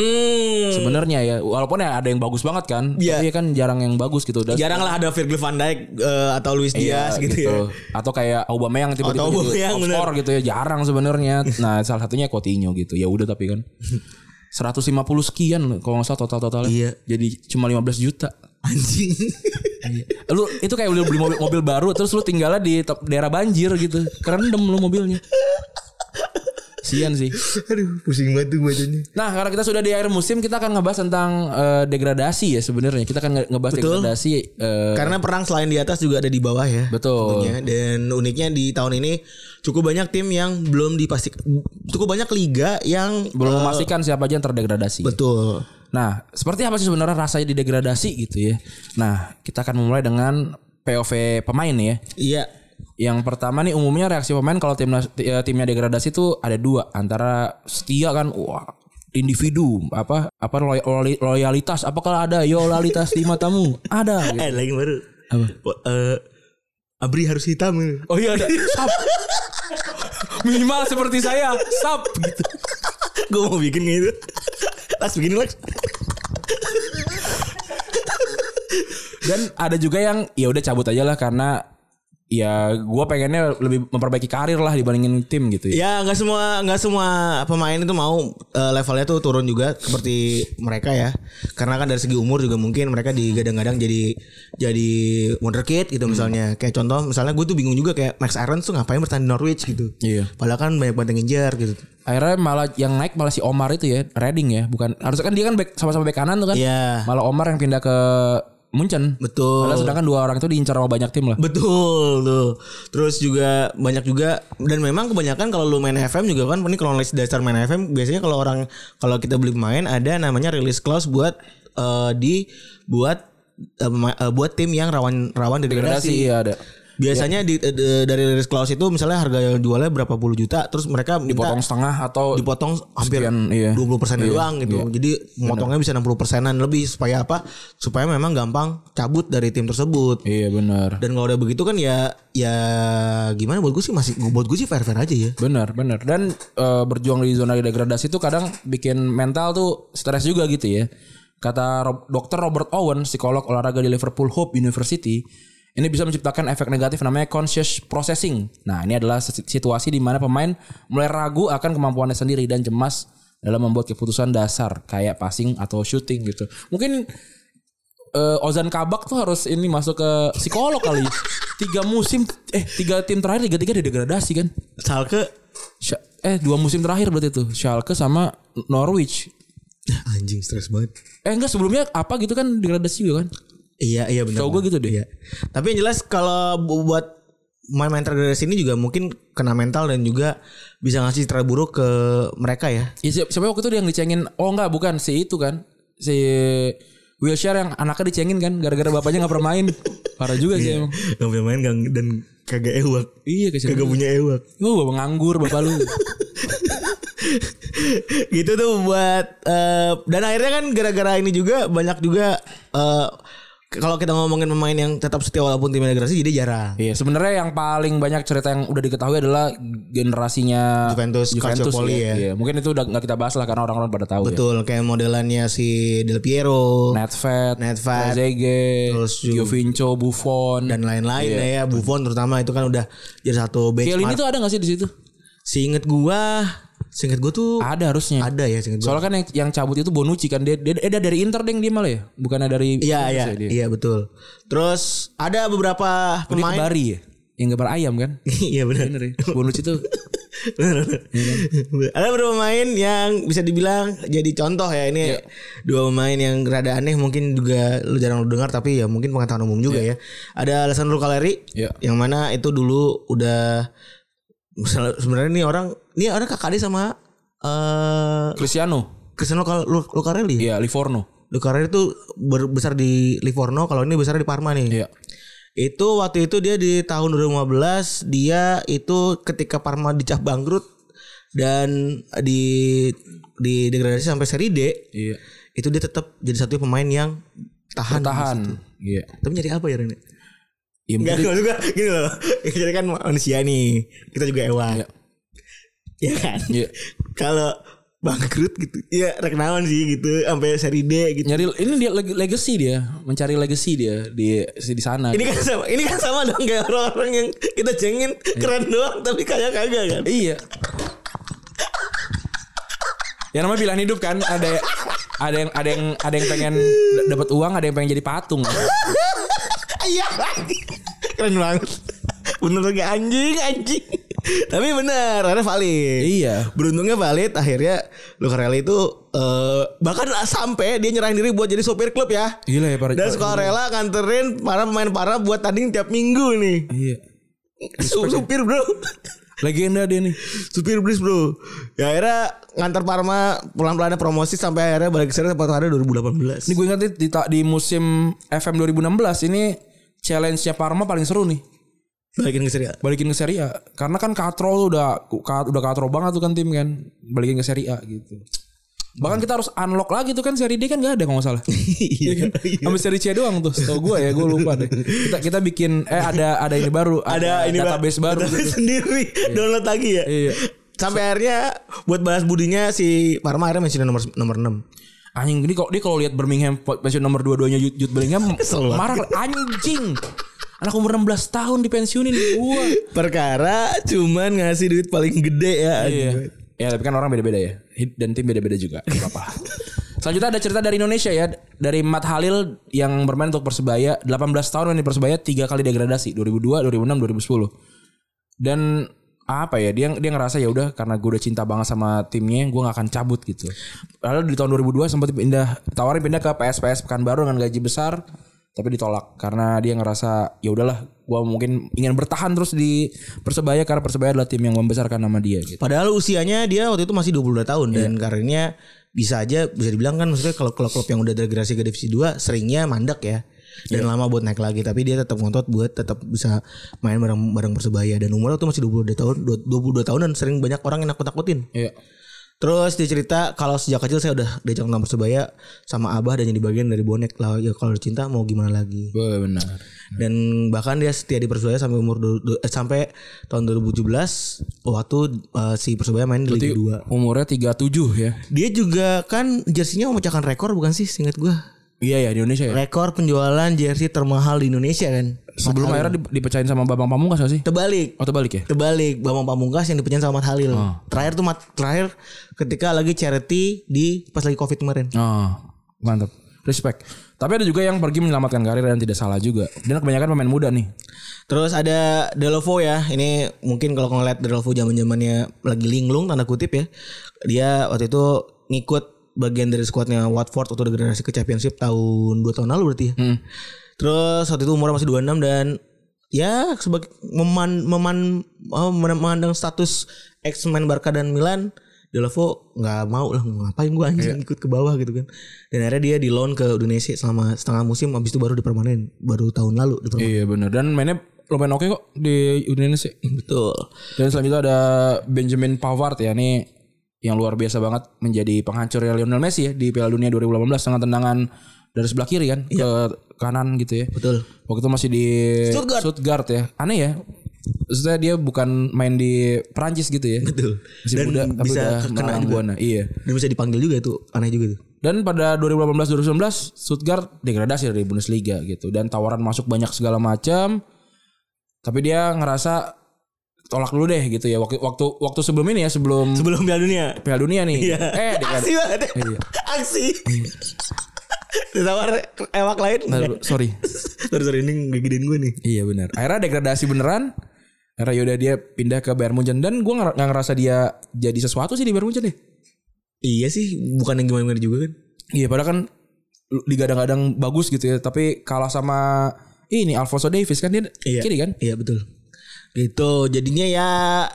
Speaker 3: Hmm.
Speaker 2: Sebenarnya ya, walaupun ya ada yang bagus banget kan,
Speaker 3: Iya.
Speaker 2: tapi kan jarang yang bagus gitu. Dan
Speaker 3: Jarang lah ada Virgil van Dijk eh, atau Luis
Speaker 2: Iya,
Speaker 3: Diaz gitu, ya.
Speaker 2: Atau kayak Aubameyang tiba-tiba
Speaker 3: Atau Aubameyang,
Speaker 2: jadi top scorer gitu ya, jarang sebenarnya. Nah, salah satunya Coutinho gitu. Ya udah tapi kan 150 sekian kalau nggak salah total totalnya.
Speaker 3: Iya.
Speaker 2: Jadi cuma 15 juta.
Speaker 3: Anjing. Iya.
Speaker 2: Lu itu kayak lu beli mobil, mobil baru terus lu tinggalnya di te- daerah banjir gitu. Kerendem lu mobilnya. Sian sih.
Speaker 3: Aduh, pusing banget tuh bacanya.
Speaker 2: Nah, karena kita sudah di akhir musim, kita akan ngebahas tentang eh, degradasi ya sebenarnya. Kita akan nge- ngebahas
Speaker 3: Betul.
Speaker 2: degradasi eh,
Speaker 3: Karena perang selain di atas juga ada di bawah ya.
Speaker 2: Betul.
Speaker 3: tentunya. Dan uniknya di tahun ini cukup banyak tim yang belum dipastikan cukup banyak liga yang
Speaker 2: belum
Speaker 3: eh,
Speaker 2: memastikan siapa aja yang terdegradasi.
Speaker 3: betul.
Speaker 2: Nah, seperti apa sih sebenarnya rasanya didegradasi gitu ya? Nah, kita akan memulai dengan POV pemain ya.
Speaker 3: Iya.
Speaker 2: Yang pertama nih umumnya reaksi pemain kalau timnas ti- eh, timnya degradasi tuh ada dua antara setia kan, wah individu apa apa loy- loy- loyalitas apakah ada yo loyalitas di matamu ada gitu.
Speaker 3: Eh lagi baru.
Speaker 2: Apa?
Speaker 3: Wah, eh, Abri harus hitam.
Speaker 2: oh iya ada sap minimal seperti saya sap gitu
Speaker 3: Gue mau bikin kayak gitu. Lex begini Lex.
Speaker 2: Dan ada juga yang ya udah cabut aja lah karena ya gue pengennya lebih memperbaiki karir lah dibandingin tim gitu ya.
Speaker 3: Ya nggak semua nggak semua pemain itu mau eh, levelnya tuh turun juga seperti mereka ya. Karena kan dari segi umur juga mungkin mereka digadang-gadang jadi jadi wonderkid gitu misalnya. Kayak contoh misalnya gue tuh bingung juga kayak Max Aaron tuh ngapain bertahan di Norwich gitu.
Speaker 2: Iya.
Speaker 3: Padahal kan banyak banget yang ngejar gitu.
Speaker 2: Akhirnya malah yang naik malah si Omar itu ya, Reading ya, bukan harusnya kan dia kan back- sama-sama back kanan tuh kan.
Speaker 3: Iya.
Speaker 2: Malah Omar yang pindah ke Munchen.
Speaker 3: Betul.
Speaker 2: Padahal sedangkan dua orang itu diincar sama banyak tim lah.
Speaker 3: Betul tuh. Terus juga banyak juga dan memang kebanyakan kalau lu main FM juga kan ini kalau list dasar main FM biasanya kalau orang kalau kita beli pemain ada namanya release clause buat eh, di buat eh, pema- eh, buat tim yang rawan rawan
Speaker 2: Degradasi
Speaker 3: degradasi.
Speaker 2: iya ada.
Speaker 3: Biasanya di, eh, de- dari release clause itu misalnya harga jualnya berapa puluh juta terus mereka minta
Speaker 2: Potong setengah atau
Speaker 3: dipotong hampir
Speaker 2: Sekian, iya.
Speaker 3: 20 persen doang gitu. Jadi motongnya bisa 60 persenan lebih supaya apa? Supaya memang gampang cabut dari tim tersebut.
Speaker 2: Iya benar.
Speaker 3: Dan kalau udah begitu kan ya ya gimana buat gue sih masih buat gue sih fair fair aja ya.
Speaker 2: Benar, benar. Dan eh, berjuang di zona degradasi itu kadang bikin mental tuh stres juga gitu ya. Kata Rob- dokter Robert Owen, psikolog olahraga di Liverpool Hope University, ini bisa menciptakan efek negatif namanya conscious processing. Nah, ini adalah si- situasi di mana pemain mulai ragu akan kemampuannya sendiri dan cemas dalam membuat keputusan dasar kayak passing atau shooting gitu. Mungkin eh, Ozan Kabak tuh harus ini masuk ke psikolog kali. Tiga musim eh tiga tim terakhir tiga tiga degradasi kan.
Speaker 3: Salke
Speaker 2: Sya- eh dua musim terakhir berarti tuh Schalke sama Norwich.
Speaker 3: Ya, anjing stres banget.
Speaker 2: Eh enggak sebelumnya apa gitu kan degradasi juga kan?
Speaker 3: Iya iya benar.
Speaker 2: Setahu gua gitu deh.
Speaker 3: Iya. Tapi yang jelas kalau bu- buat main-main terdegradasi ini juga mungkin kena mental dan juga bisa ngasih citra buruk ke mereka ya.
Speaker 2: Ya, si- siapa waktu itu dia yang dicengin? Oh enggak bukan si itu kan si Wilshire yang anaknya dicengin kan gara-gara bapaknya nggak pernah main. Parah juga
Speaker 3: Iya.
Speaker 2: sih emang.
Speaker 3: Gak punya main gang- dan kagak ewak.
Speaker 2: Iya kesian.
Speaker 3: Kagak punya ewak.
Speaker 2: Lu bapak nganggur bapak lu.
Speaker 3: gitu tuh buat eh, dan akhirnya kan gara-gara ini juga banyak juga eh, kalau kita ngomongin pemain yang tetap setia walaupun tim degrasi jadi jarang.
Speaker 2: Iya, sebenarnya yang paling banyak cerita yang udah diketahui adalah generasinya
Speaker 3: Juventus, Calciopoli ya.
Speaker 2: Iya, mungkin itu udah nggak kita bahas lah karena orang-orang pada tahu ya.
Speaker 3: Betul kayak modelannya si Del Piero
Speaker 2: Nah, Nedved,
Speaker 3: Nedved,
Speaker 2: Trezeguet,
Speaker 3: terus juga-
Speaker 2: Giovinco, Buffon.
Speaker 3: dan lain-lain
Speaker 2: iya.
Speaker 3: ya Buffon terutama itu kan udah jadi satu
Speaker 2: Kelini
Speaker 3: benchmark.
Speaker 2: tuh ada gak sih di situ?
Speaker 3: Seinget gua, seinget gua tuh
Speaker 2: Ada harusnya.
Speaker 3: ada ya seinget gua.
Speaker 2: Soalnya kan yang, yang cabut itu Bonucci kan dia, dia, eh, dia dari Inter deng dia malah ya, bukannya dari Juventus
Speaker 3: Iya iya
Speaker 2: ya dia.
Speaker 3: iya betul. Terus ada beberapa
Speaker 2: Dia ke
Speaker 3: pemain
Speaker 2: Bari ya, yang gambar ayam kan.
Speaker 3: Iya benar.
Speaker 2: Bener ya. Bonucci tuh
Speaker 3: Bener, bener. Ada beberapa pemain yang bisa dibilang jadi contoh ya ini dua pemain yang rada aneh mungkin juga lu jarang lu dengar tapi ya mungkin pengetahuan umum juga ya. Ada Alessandro Caleri
Speaker 2: Iya.
Speaker 3: yang mana itu dulu udah misalnya- sebenarnya nih orang ini orang kakak sama eh
Speaker 2: Cristiano,
Speaker 3: Cristiano Cal- Lu- Lucarelli.
Speaker 2: iya Livorno.
Speaker 3: Lucarelli itu berbesar di Livorno kalau ini besar di Parma nih.
Speaker 2: Iya.
Speaker 3: Itu waktu itu dia di tahun 2015 dia itu ketika Parma dicap bangkrut dan di di degradasi sampai seri D
Speaker 2: Iya.
Speaker 3: itu dia tetap jadi satu pemain yang tahan.
Speaker 2: Tahan. Iya.
Speaker 3: Tapi nyari apa ya Rene?
Speaker 2: Ya,
Speaker 3: Enggak
Speaker 2: mungkin-
Speaker 3: maksud gua gini loh. Kita kan manusia nih. Kita juga hewan.
Speaker 2: Iya.
Speaker 3: Iya kan?
Speaker 2: Iya.
Speaker 3: Kalau bangkrut gitu. Ya rekenawan sih gitu sampai seri D gitu.
Speaker 2: nyari ini dia leg- legacy dia mencari legacy dia di di sana
Speaker 3: Ini kan sama, ini kan sama dong kayak orang-orang yang kita cengin keren doang tapi kayak kagak kan.
Speaker 2: iya ya namanya pilihan hidup kan ada ada yang ada yang ada yang pengen d- dapat uang ada yang pengen jadi patung
Speaker 3: Iya lagi. Keren banget. Bener lagi anjing anjing. Tapi bener, ada valid.
Speaker 2: Iya.
Speaker 3: Beruntungnya valid akhirnya Lucarelli itu eh, bahkan sampai dia nyerahin diri buat jadi sopir klub ya.
Speaker 2: gila ya para
Speaker 3: Dan sekolah rela nganterin para pemain para buat tanding tiap minggu nih.
Speaker 2: iya
Speaker 3: Su- Supir bro.
Speaker 2: legenda dia nih
Speaker 3: Supir bis bro. Ya akhirnya ngantar Parma pelan-pelan promosi sampai akhirnya balik ke sana tempat ada 2018.
Speaker 2: ini gue ingat di, ta- di musim FM 2016 ini challenge-nya Parma paling seru nih
Speaker 3: balikin ke Serie A.
Speaker 2: balikin ke Serie A karena kan Katro tuh udah ka- udah Katro banget tuh kan tim kan balikin ke Serie A gitu bahkan kita harus unlock lagi tuh kan Serie D kan gak ada kalau nggak salah
Speaker 3: Iya.
Speaker 2: Ambil seri C doang tuh. Tahu gue ya, gue lupa deh. Kita kita bikin eh ada ada ini baru,
Speaker 3: ada Nah, ini
Speaker 2: database baru. gitu.
Speaker 3: database sendiri download lagi ya
Speaker 2: Iya.
Speaker 3: sampai akhirnya buat balas budinya si Parma akhirnya mention nomor nomor 6
Speaker 2: Anjing ini kalau dia kalau lihat Birmingham pensiun nomor dua-duanya Jude, Jude Bellingham
Speaker 3: Kesel banget.
Speaker 2: marah anjing. Anak umur 16 tahun dipensiunin gua.
Speaker 3: perkara cuman ngasih duit paling gede ya
Speaker 2: Iya. Ya tapi kan orang beda-beda ya. Hid- Dan tim beda-beda juga. Gak apa-apa. Selanjutnya ada cerita dari Indonesia ya. Dari Mat Halil yang bermain untuk Persebaya. 18 tahun main di Persebaya. 3 kali degradasi. 2002, 2006, 2010. Dan apa ya dia dia ngerasa ya udah karena gue udah cinta banget sama timnya gue gak akan cabut gitu lalu di tahun 2002 sempat pindah tawarin pindah ke PSPS Pekanbaru dengan gaji besar tapi ditolak karena dia ngerasa ya udahlah gue mungkin ingin bertahan terus di persebaya karena persebaya adalah tim yang membesarkan nama dia gitu
Speaker 3: padahal usianya dia waktu itu masih 22 tahun dan
Speaker 2: Iya.
Speaker 3: karirnya bisa aja bisa dibilang kan maksudnya kalau klub-klub yang udah degradasi ke divisi 2 seringnya mandek ya
Speaker 2: Iya.
Speaker 3: dan lama buat naik lagi tapi dia tetap ngotot buat tetap bisa main bareng bareng persebaya dan umurnya tuh masih 22 tahun 22 tahun dan sering banyak orang yang nakut-nakutin
Speaker 2: Iya.
Speaker 3: Terus dia cerita kalau sejak kecil saya udah diajak nonton Persebaya sama abah dan jadi bagian dari bonek lah ya kalau cinta mau gimana lagi.
Speaker 2: Benar.
Speaker 3: Dan bahkan dia setia di Persebaya sampai umur du- du- eh, sampai tahun 2017 waktu eh, si Persebaya main di Liga 2.
Speaker 2: Umurnya 37 ya.
Speaker 3: Dia juga kan jersinya memecahkan rekor bukan sih seingat gua.
Speaker 2: Iya ya di Indonesia ya.
Speaker 3: Rekor penjualan jersey termahal di Indonesia kan.
Speaker 2: Sebelum akhirnya dip- dipecahin sama Bambang Pamungkas nggak sih?
Speaker 3: Terbalik.
Speaker 2: Atau balik ya?
Speaker 3: Terbalik Bambang Pamungkas yang dipecat sama Mat Halil.
Speaker 2: Ah.
Speaker 3: Terakhir tuh Mat- terakhir ketika lagi charity di pas lagi Covid kemarin.
Speaker 2: Oh, mantap. Ah, Respect. Tapi ada juga yang pergi menyelamatkan karir dan tidak salah juga. Dan kebanyakan pemain muda nih.
Speaker 3: Terus ada Delovo ya. Ini mungkin kalau ngeliat Delovo zaman-zamannya lagi linglung tanda kutip ya. Dia waktu itu ngikut bagian dari skuadnya Watford waktu degradasi ke Championship tahun 2 tahun lalu berarti ya. Terus waktu itu umurnya masih 26 dan ya sebagai meman meman oh, memandang status ex-men Barca dan Milan Delovo nggak mau lah ngapain gue anjing ikut ke bawah gitu kan dan akhirnya dia di loan ke Udinese selama setengah musim habis itu baru dipermanen baru tahun lalu dipermanen
Speaker 2: Iya bener. Dan mainnya lumayan oke kok di Udinese.
Speaker 3: betul
Speaker 2: Dan selain itu ada Benjamin Pavard ya nih yang luar biasa banget menjadi penghancurnya Lionel Messi ya di Piala Dunia 2018 dengan tendangan dari sebelah kiri kan ke kanan gitu ya.
Speaker 3: Betul.
Speaker 2: Waktu itu masih di
Speaker 3: Stuttgart.
Speaker 2: ya. Aneh ya. Maksudnya dia bukan main di Perancis gitu ya.
Speaker 3: Betul.
Speaker 2: Masih
Speaker 3: Dan
Speaker 2: muda tapi
Speaker 3: bisa gitu.
Speaker 2: udah
Speaker 3: kena
Speaker 2: menelan
Speaker 3: juga.
Speaker 2: buana. Iya.
Speaker 3: Dan bisa dipanggil juga itu aneh juga tuh.
Speaker 2: Dan pada 2018-2019 Stuttgart degradasi dari Bundesliga gitu dan tawaran masuk banyak segala macam. Tapi dia ngerasa tolak dulu deh gitu ya waktu waktu waktu sebelum ini ya sebelum
Speaker 3: Sebelum Piala Dunia.
Speaker 2: Piala Dunia nih.
Speaker 3: Iya.
Speaker 2: Eh,
Speaker 3: aksi
Speaker 2: degrad-
Speaker 3: banget. ya.
Speaker 2: Iya.
Speaker 3: aksi. Ditawar ewak lain.
Speaker 2: Aduh, sorry.
Speaker 3: Terus hari ini ngegedein gue nih.
Speaker 2: Iya benar. Akhirnya degradasi beneran. Akhirnya yaudah dia pindah ke Bayern Munchen dan gue nggak ngerasa dia jadi sesuatu sih di Bayern Munchen deh.
Speaker 3: Iya sih, bukan yang gimana-gimana juga kan.
Speaker 2: Iya padahal kan lu- digadang-gadang bagus gitu ya. Tapi kalah sama ini Alfonso Davis kan dia
Speaker 3: Iya.
Speaker 2: kiri kan.
Speaker 3: Iya betul. Gitu. Jadinya ya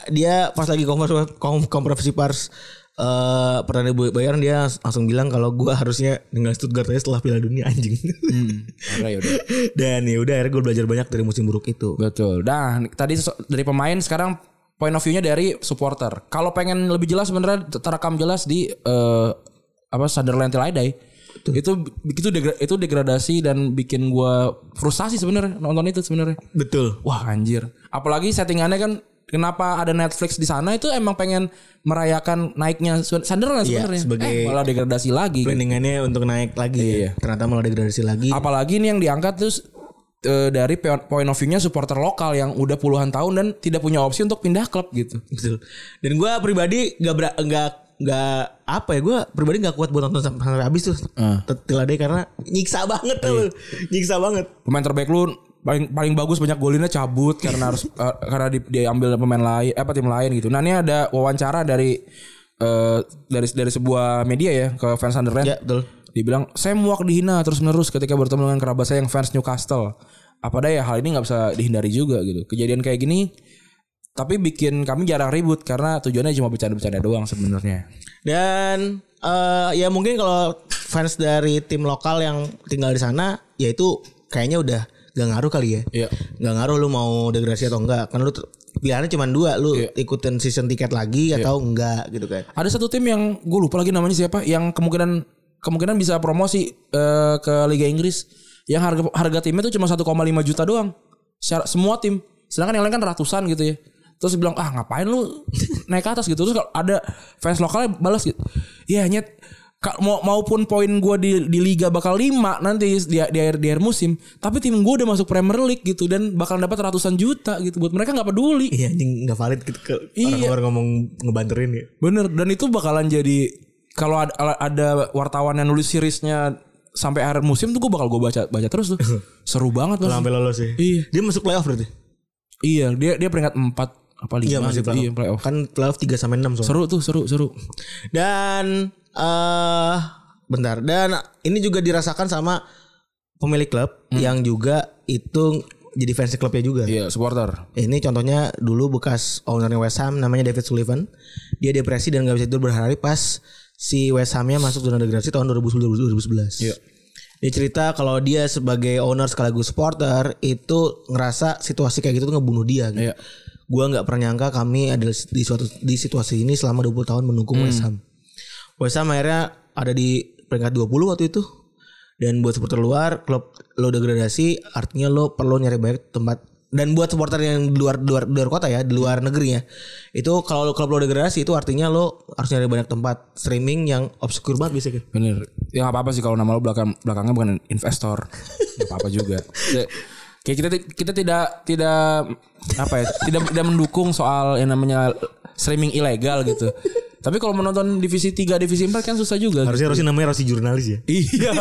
Speaker 3: dia pas lagi konversi kom- kompresi pars eh perdana Bu- Bayern dia langsung bilang kalau gue harusnya tinggal Stuttgart aja setelah Piala Dunia anjing. Hmm.
Speaker 2: Akhirnya Iya, yaudah.
Speaker 3: Dan ya udah akhirnya gue belajar banyak dari musim buruk itu.
Speaker 2: Betul. Nah tadi sesu- dari pemain sekarang point of view-nya dari supporter. Kalau pengen lebih jelas sebenarnya terekam jelas di eh, apa Sunderland Till I Die. Itu itu degra- itu degradasi dan bikin gua frustasi sebenarnya nonton itu sebenarnya.
Speaker 3: Betul.
Speaker 2: Wah anjir. Apalagi settingannya kan kenapa ada Netflix di sana itu emang pengen merayakan naiknya Sun- Sunderland
Speaker 3: Iya,
Speaker 2: sebenarnya.
Speaker 3: sebagai-
Speaker 2: eh, malah degradasi lagi.
Speaker 3: Planningnya untuk naik lagi
Speaker 2: Iya.
Speaker 3: ya. Ternyata malah degradasi lagi.
Speaker 2: Apalagi ini yang diangkat terus eh, dari pe- point of view-nya supporter lokal yang udah puluhan tahun dan tidak punya opsi untuk pindah klub gitu.
Speaker 3: Betul. Dan gue pribadi gak ber gak gak apa ya gue pribadi gak kuat buat nonton sampai sampai habis tuh. Tet- Till I Die karena nyiksa banget tuh. Nyiksa banget.
Speaker 2: Pemain terbaik lu paling paling bagus banyak golinnya cabut karena harus eh, karena di, diambil pemain lain eh, apa tim lain gitu. Nah, ini ada wawancara dari eh, dari dari sebuah media ya ke fans Sunderland.
Speaker 3: Ya betul.
Speaker 2: Dibilang saya muak dihina terus-menerus ketika bertemu dengan kerabat saya yang fans Newcastle. Apa daya hal ini nggak bisa dihindari juga gitu. Kejadian kayak gini tapi bikin kami jarang ribut karena tujuannya cuma bercanda-bercanda doang sebenarnya.
Speaker 3: Dan eh, ya mungkin kalau fans dari tim lokal yang tinggal di sana ya itu kayaknya udah gak ngaruh kali ya.
Speaker 2: Iya.
Speaker 3: Gak ngaruh lu mau degradasi atau enggak. Karena lu ter- pilihannya cuma dua. Lu
Speaker 2: Iya.
Speaker 3: ikutin season tiket lagi atau enggak gitu kan.
Speaker 2: Ada satu tim yang gue lupa lagi namanya siapa yang kemungkinan kemungkinan bisa promosi eh, ke Liga Inggris yang harga harga timnya tuh cuma 1,5 juta doang. Secara- semua tim. Sedangkan yang lain kan ratusan gitu ya. Terus bilang ah ngapain lu naik ke atas gitu. Terus kalau ada fans lokalnya balas gitu. Ya nyet Ka- mau maupun poin gue di di liga bakal 5 nanti di di akhir di akhir musim tapi tim gue udah masuk Premier League gitu dan bakal dapat ratusan juta gitu buat mereka nggak peduli
Speaker 3: Iya anjing gak valid gitu ke
Speaker 2: Iya.
Speaker 3: orang-orang ngomong ngebanterin ya.
Speaker 2: Bener dan itu bakalan jadi kalau ada, ada wartawan yang nulis seriesnya sampai akhir musim tuh gue bakal gue baca baca terus tuh seru banget
Speaker 3: Kalau
Speaker 2: mas.
Speaker 3: sampai lolos sih.
Speaker 2: Iya.
Speaker 3: Dia masuk playoff berarti.
Speaker 2: iya dia dia peringkat 4 apa 5
Speaker 3: Iya masih playoff.
Speaker 2: iya, playoff.
Speaker 3: Kan playoff 3 sampai 6 soalnya.
Speaker 2: seru tuh seru seru
Speaker 3: Dan eh bentar dan ini juga dirasakan sama pemilik klub yang juga itu jadi fans klubnya juga.
Speaker 2: Hmm. iya supporter
Speaker 3: Ini contohnya dulu bekas ownernya West Ham namanya David Sullivan. Dia depresi dan gak bisa tidur berhari pas si West Hamnya masuk zona degradasi tahun 2010-2011.
Speaker 2: Iya.
Speaker 3: Dia cerita kalau dia sebagai owner sekaligus supporter itu ngerasa situasi kayak gitu tuh ngebunuh dia. Gitu.
Speaker 2: Iya.
Speaker 3: Gua nggak pernah nyangka kami ada di suatu di situasi ini selama 20 tahun mendukung West Ham. West Ham akhirnya ada di peringkat 20 waktu itu. Dan buat supporter luar, klub lo degradasi, artinya lo perlu nyari banyak tempat. Dan buat supporter yang di luar luar luar kota ya, di luar negeri ya, itu kalau lo- klub lo degradasi itu artinya lo harus nyari banyak tempat streaming yang obscure banget bisa gitu.
Speaker 2: bener ya nggak apa apa sih kalau nama lu belakang belakangnya bukan investor nggak apa apa juga Ya, kayak kita ti- kita tidak tidak apa ya tidak tidak mendukung soal yang namanya streaming ilegal gitu Tapi kalau menonton divisi 3, divisi 4 kan susah juga.
Speaker 3: Harusnya Rosi namanya Rosi jurnalis ya.
Speaker 2: Iya.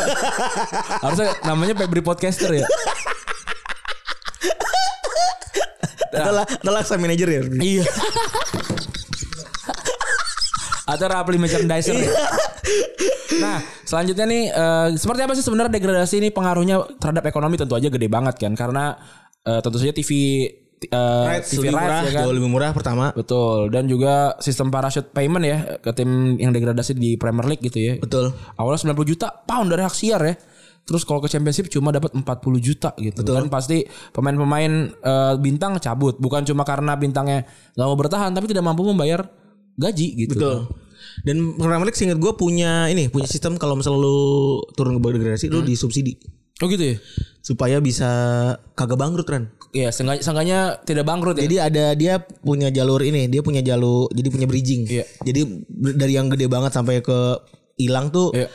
Speaker 2: Harusnya namanya Febri Podcaster ya.
Speaker 3: Atau lah, atau laksa manajer ya.
Speaker 2: Iya. Atau Rapli merchandiser. ya. Nah, selanjutnya nih eh, seperti apa sih sebenarnya degradasi ini pengaruhnya terhadap ekonomi tentu aja gede banget kan karena eh, tentu saja TV eh,
Speaker 3: Rights
Speaker 2: TV
Speaker 3: lebih murah,
Speaker 2: rights ya kan.
Speaker 3: jauh lebih murah pertama.
Speaker 2: Betul. Dan juga sistem parachute payment ya ke tim yang degradasi di Premier League gitu ya.
Speaker 3: Betul.
Speaker 2: Awalnya 90 juta pound dari hak siar ya. Terus kalau ke championship cuma dapat 40 juta gitu. Kan pasti pemain-pemain eh, bintang cabut bukan cuma karena bintangnya gak mau bertahan tapi tidak mampu membayar gaji gitu.
Speaker 3: Betul. Dan Premier League seingat gue punya ini punya sistem kalau misalnya lu turun ke bawah degradasi
Speaker 2: Hmm.
Speaker 3: lu disubsidi
Speaker 2: Oh gitu ya.
Speaker 3: supaya bisa kagak bangkrut kan.
Speaker 2: Ya, seenggaknya, seenggaknya tidak bangkrut ya.
Speaker 3: Jadi ada dia punya jalur ini, dia punya jalur jadi punya bridging.
Speaker 2: Iya.
Speaker 3: Jadi ber- dari yang gede banget sampai ke hilang tuh.
Speaker 2: Iya.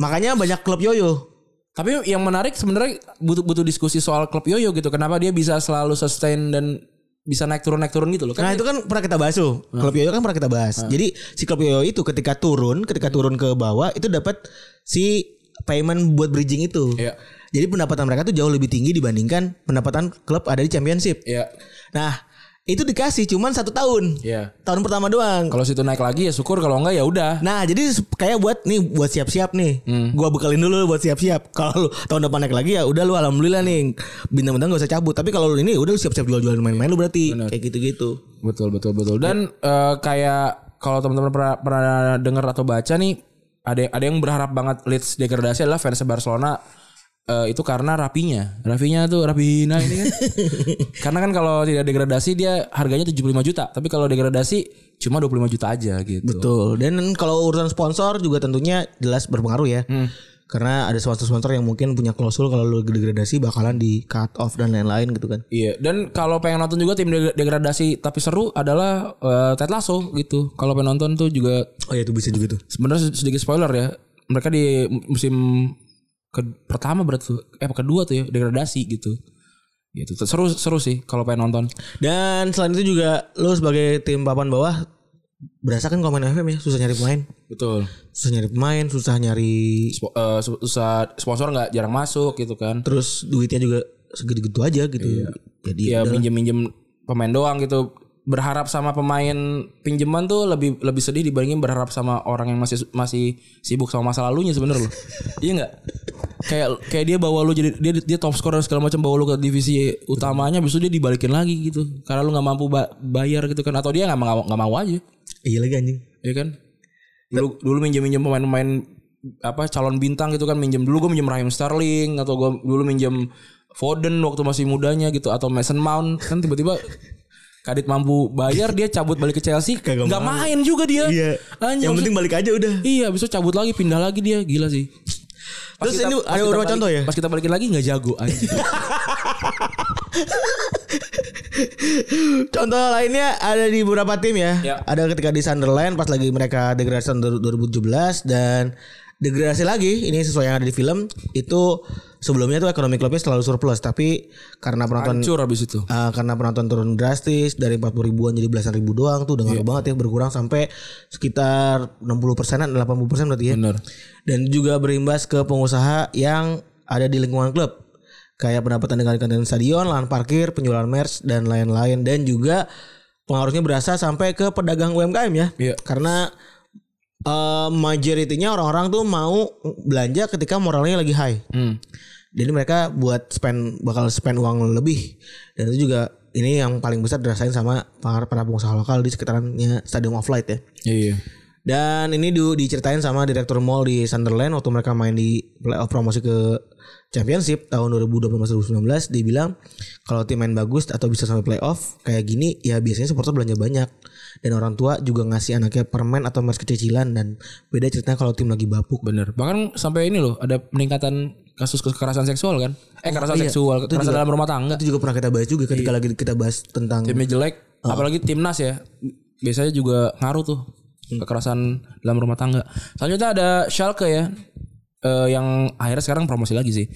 Speaker 3: Makanya banyak klub yoyo.
Speaker 2: Tapi yang menarik sebenarnya butuh butuh diskusi soal klub Yoyo gitu. Kenapa dia bisa selalu sustain dan bisa naik turun naik turun gitu loh.
Speaker 3: Nah
Speaker 2: Kan Nah.
Speaker 3: itu kan pernah kita bahas tuh. Klub yoyo kan pernah kita bahas. Jadi si klub yoyo itu ketika turun, ketika
Speaker 2: Hmm.
Speaker 3: turun ke bawah itu dapat si payment buat bridging itu.
Speaker 2: Iya.
Speaker 3: Jadi pendapatan mereka tuh jauh lebih tinggi dibandingkan pendapatan klub ada di championship.
Speaker 2: ya
Speaker 3: Nah itu dikasih cuman satu tahun.
Speaker 2: Iya.
Speaker 3: Tahun pertama doang.
Speaker 2: kalau situ naik lagi ya syukur kalau enggak ya udah.
Speaker 3: Nah jadi se- kayak buat nih buat siap-siap nih.
Speaker 2: Hmm.
Speaker 3: Gua bekalin dulu buat siap-siap. Kalau lu tahun depan naik lagi ya udah lu alhamdulillah nih bintang-bintang gak usah cabut. Tapi kalau lu ini udah lu siap-siap jual-jual main-main lu berarti kayak gitu-gitu.
Speaker 2: Betul betul betul. Dan eh, kayak kalau teman-teman pernah, pernah dengar atau baca nih ada ada yang berharap banget Leeds degradasi adalah fans Barcelona eh, itu karena rapinya. Rapinya tuh Rapina ini kan. karena kan kalau tidak degradasi dia harganya 75 juta, tapi kalau degradasi cuma 25 juta aja gitu.
Speaker 3: Betul. Dan kalau urusan sponsor juga tentunya jelas berpengaruh ya. Karena ada sponsor-sponsor yang mungkin punya klausul kalau lu degradasi bakalan di cut off dan lain-lain gitu kan.
Speaker 2: Iya, dan kalau pengen nonton juga tim de- degradasi tapi seru adalah eh, Ted Lasso gitu. Kalau pengen nonton tuh juga
Speaker 3: Oh iya itu bisa juga tuh.
Speaker 2: sebenarnya sedikit spoiler ya. Mereka di musim ke- pertama berarti tuh, eh kedua tuh ya degradasi gitu. Gitu. Seru seru sih kalau pengen nonton.
Speaker 3: Dan selain itu juga lu sebagai tim papan bawah berasa kan komen FM ya susah nyari pemain,
Speaker 2: Betul.
Speaker 3: susah nyari pemain, susah nyari
Speaker 2: eh, sponsor nggak jarang masuk gitu kan.
Speaker 3: terus duitnya juga segitu-gitu aja gitu. Jadi
Speaker 2: ya
Speaker 3: udah.
Speaker 2: minjem-minjem pemain doang gitu berharap sama pemain pinjaman tuh lebih lebih sedih dibandingin berharap sama orang yang masih masih sibuk sama masa lalunya sebenernya loh iya nggak kayak kayak dia bawa lu jadi dia dia top scorer segala macam bawa lu ke divisi utamanya besok dia dibalikin lagi gitu karena lu nggak mampu ba- bayar gitu kan atau dia nggak mau nggak mau aja
Speaker 3: iya lagi anjing.
Speaker 2: ya kan dulu dulu minjem minjem pemain pemain apa calon bintang gitu kan minjem dulu gue minjem Raheem Sterling atau gue dulu minjem Foden waktu masih mudanya gitu atau Mason Mount kan tiba-tiba Kadit mampu bayar dia cabut balik ke Chelsea
Speaker 3: Kagak
Speaker 2: nggak
Speaker 3: mau.
Speaker 2: main juga dia
Speaker 3: Iya.
Speaker 2: Anjing,
Speaker 3: yang
Speaker 2: maksud-
Speaker 3: penting balik aja udah.
Speaker 2: iya besok cabut lagi pindah lagi dia gila sih Pas
Speaker 3: Terus
Speaker 2: kita-
Speaker 3: ini
Speaker 2: pas
Speaker 3: ada
Speaker 2: kita
Speaker 3: beberapa
Speaker 2: balik-
Speaker 3: contoh ya?
Speaker 2: pas kita balikin lagi nggak jago anjing
Speaker 3: Contoh lainnya ada di beberapa tim ya.
Speaker 2: Ya.
Speaker 3: Ada ketika di Sunderland pas lagi mereka degradasi tahun 2017 dan degradasi lagi ini sesuai yang ada di film itu sebelumnya tuh ekonomi klubnya selalu surplus tapi karena penonton
Speaker 2: hancur habis itu
Speaker 3: eh, karena penonton turun drastis dari 40 ribuan jadi belasan ribu doang tuh udah ngaruh
Speaker 2: Iya.
Speaker 3: banget ya berkurang sampai sekitar 60 persenan 80 persen berarti ya
Speaker 2: bener
Speaker 3: dan juga berimbas ke pengusaha yang ada di lingkungan klub kayak pendapatan dengan konten stadion, lahan parkir, penjualan merch dan lain-lain dan juga pengaruhnya berasa sampai ke pedagang UMKM ya
Speaker 2: Iya.
Speaker 3: karena eh majoritinya orang-orang tuh mau belanja ketika moralnya lagi high
Speaker 2: hmm.
Speaker 3: jadi mereka buat spend bakal spend uang lebih dan itu juga ini yang paling besar dirasain sama para para pengusaha lokal di sekitarannya Stadium of Light ya
Speaker 2: iya, iya.
Speaker 3: dan ini du- diceritain sama direktur mall di Sunderland waktu mereka main di playoff promosi ke Championship tahun 2018-2019 dia bilang kalau tim main bagus atau bisa sampai playoff kayak gini ya biasanya supporter belanja banyak dan orang tua juga ngasih anaknya permen atau merch kececilan dan beda ceritanya kalau tim lagi bapuk
Speaker 2: Bener. Bahkan sampai ini loh ada peningkatan kasus kekerasan seksual kan? Eh kekerasan
Speaker 3: iya.
Speaker 2: seksual,
Speaker 3: Itu
Speaker 2: kekerasan
Speaker 3: juga-
Speaker 2: dalam rumah tangga.
Speaker 3: itu juga pernah kita bahas juga ketika lagi kita bahas tentang
Speaker 2: Timnya jelek, apalagi timnas ya. Biasanya juga ngaruh tuh
Speaker 3: Hmm.
Speaker 2: kekerasan dalam rumah tangga. Selanjutnya ada Schalke ya. Eh, yang akhirnya sekarang promosi lagi sih.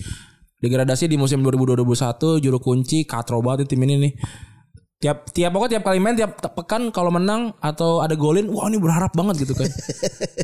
Speaker 2: Degradasi di musim 2021 juru kunci katro banget nih tim ini nih. tiap tiap pokoknya tiap kali main tiap tiap pekan kalau menang atau ada golin wah ini berharap banget gitu kan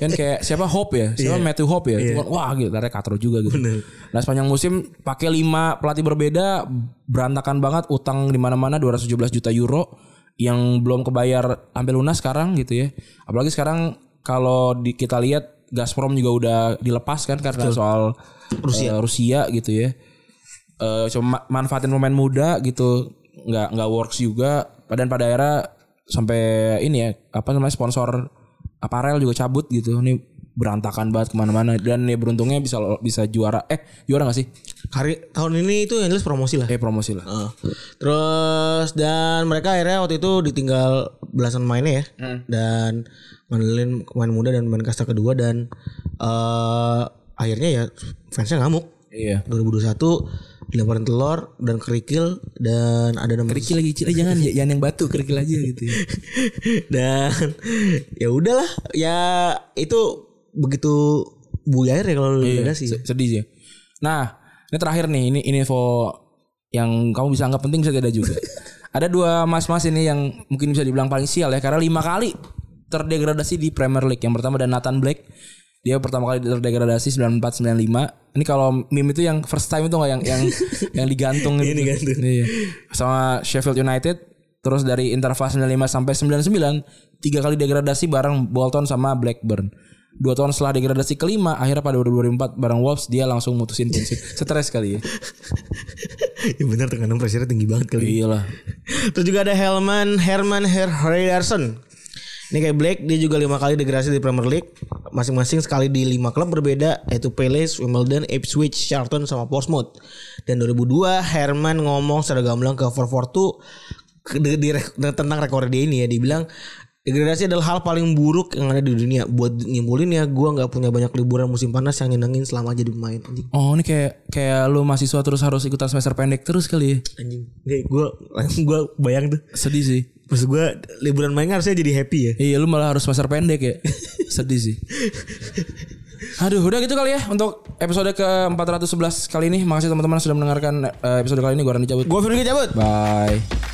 Speaker 2: kan kayak siapa Hope ya siapa Matthew Hope ya Cuman, wah gitu ternyata Katro juga gitu nah sepanjang musim pakai lima pelatih berbeda berantakan banget utang di mana-mana 217 juta euro yang belum kebayar sampai lunas sekarang gitu ya apalagi sekarang kalau di, kita lihat Gazprom juga udah dilepas kan karena soal Rusia Rusia gitu ya eh cuma ma- manfaatin pemain muda gitu nggak nggak works juga dan pada akhirnya sampai ini ya apa namanya sponsor aparel juga cabut gitu ini berantakan banget kemana-mana dan ya beruntungnya bisa lo- bisa juara eh juara nggak sih
Speaker 3: Hari tahun ini itu yang jelas promosi lah.
Speaker 2: eh promosi lah
Speaker 3: Heeh. Terus dan mereka akhirnya waktu itu ditinggal belasan mainnya ya.
Speaker 2: Hmm.
Speaker 3: Dan Mandelin pemain muda dan pemain kasta kedua dan eh akhirnya ya fansnya ngamuk.
Speaker 2: iya
Speaker 3: 2021 dilemparin telur dan kerikil dan ada nama
Speaker 2: kerikil lagi kecil jangan ya, jangan yang batu kerikil aja gitu ya.
Speaker 3: dan ya udahlah ya itu begitu buyar ya kalau
Speaker 2: Iya,
Speaker 3: iya, sih.
Speaker 2: se- sedih sih nah ini terakhir nih ini ini info yang kamu bisa anggap penting bisa tidak juga ada dua mas-mas ini yang mungkin bisa dibilang paling sial ya karena lima kali terdegradasi di Premier League yang pertama ada Nathan Blake dia pertama kali terdegradasi 94-95 ini kalau meme itu yang first time itu nggak yang yang yang digantung gitu.
Speaker 3: digantung.
Speaker 2: Iya. sama Sheffield United terus dari interval 95 sampai 99 tiga kali degradasi bareng Bolton sama Blackburn dua tahun setelah degradasi kelima akhirnya pada 2004 bareng Wolves dia langsung mutusin prinsip stres kali ya
Speaker 3: ya benar tekanan pressure tinggi banget kali. ya.
Speaker 2: iyalah
Speaker 3: Terus juga ada Helman Herman Her Heriarson. Ini kayak Blake dia juga lima kali degradasi di Premier League. Masing-masing sekali di lima klub berbeda yaitu Palace, Wimbledon, Ipswich, Charlton sama Portsmouth. Dan 2002 Herman ngomong secara gamblang ke 442 ke- di- di- tentang rekor dia ini ya dibilang Degradasi adalah hal paling buruk yang ada di dunia. Buat nyimpulinnya, gue nggak punya banyak liburan musim panas yang nyenengin selama jadi pemain. Anjing,
Speaker 2: oh ini kayak kayak lu mahasiswa terus harus ikutan semester pendek terus kali ya
Speaker 3: anjing. Gue, gue bayang tuh.
Speaker 2: sedih sih
Speaker 3: Maksud gue liburan main harusnya jadi happy ya.
Speaker 2: iya lu malah harus semester pendek ya sedih sih Aduh, udah gitu kali ya untuk episode ke-411 kali ini. Makasih teman-teman sudah mendengarkan eh, episode kali ini. Gua Randy cabut.
Speaker 3: Gue Firman cabut.
Speaker 2: Bye.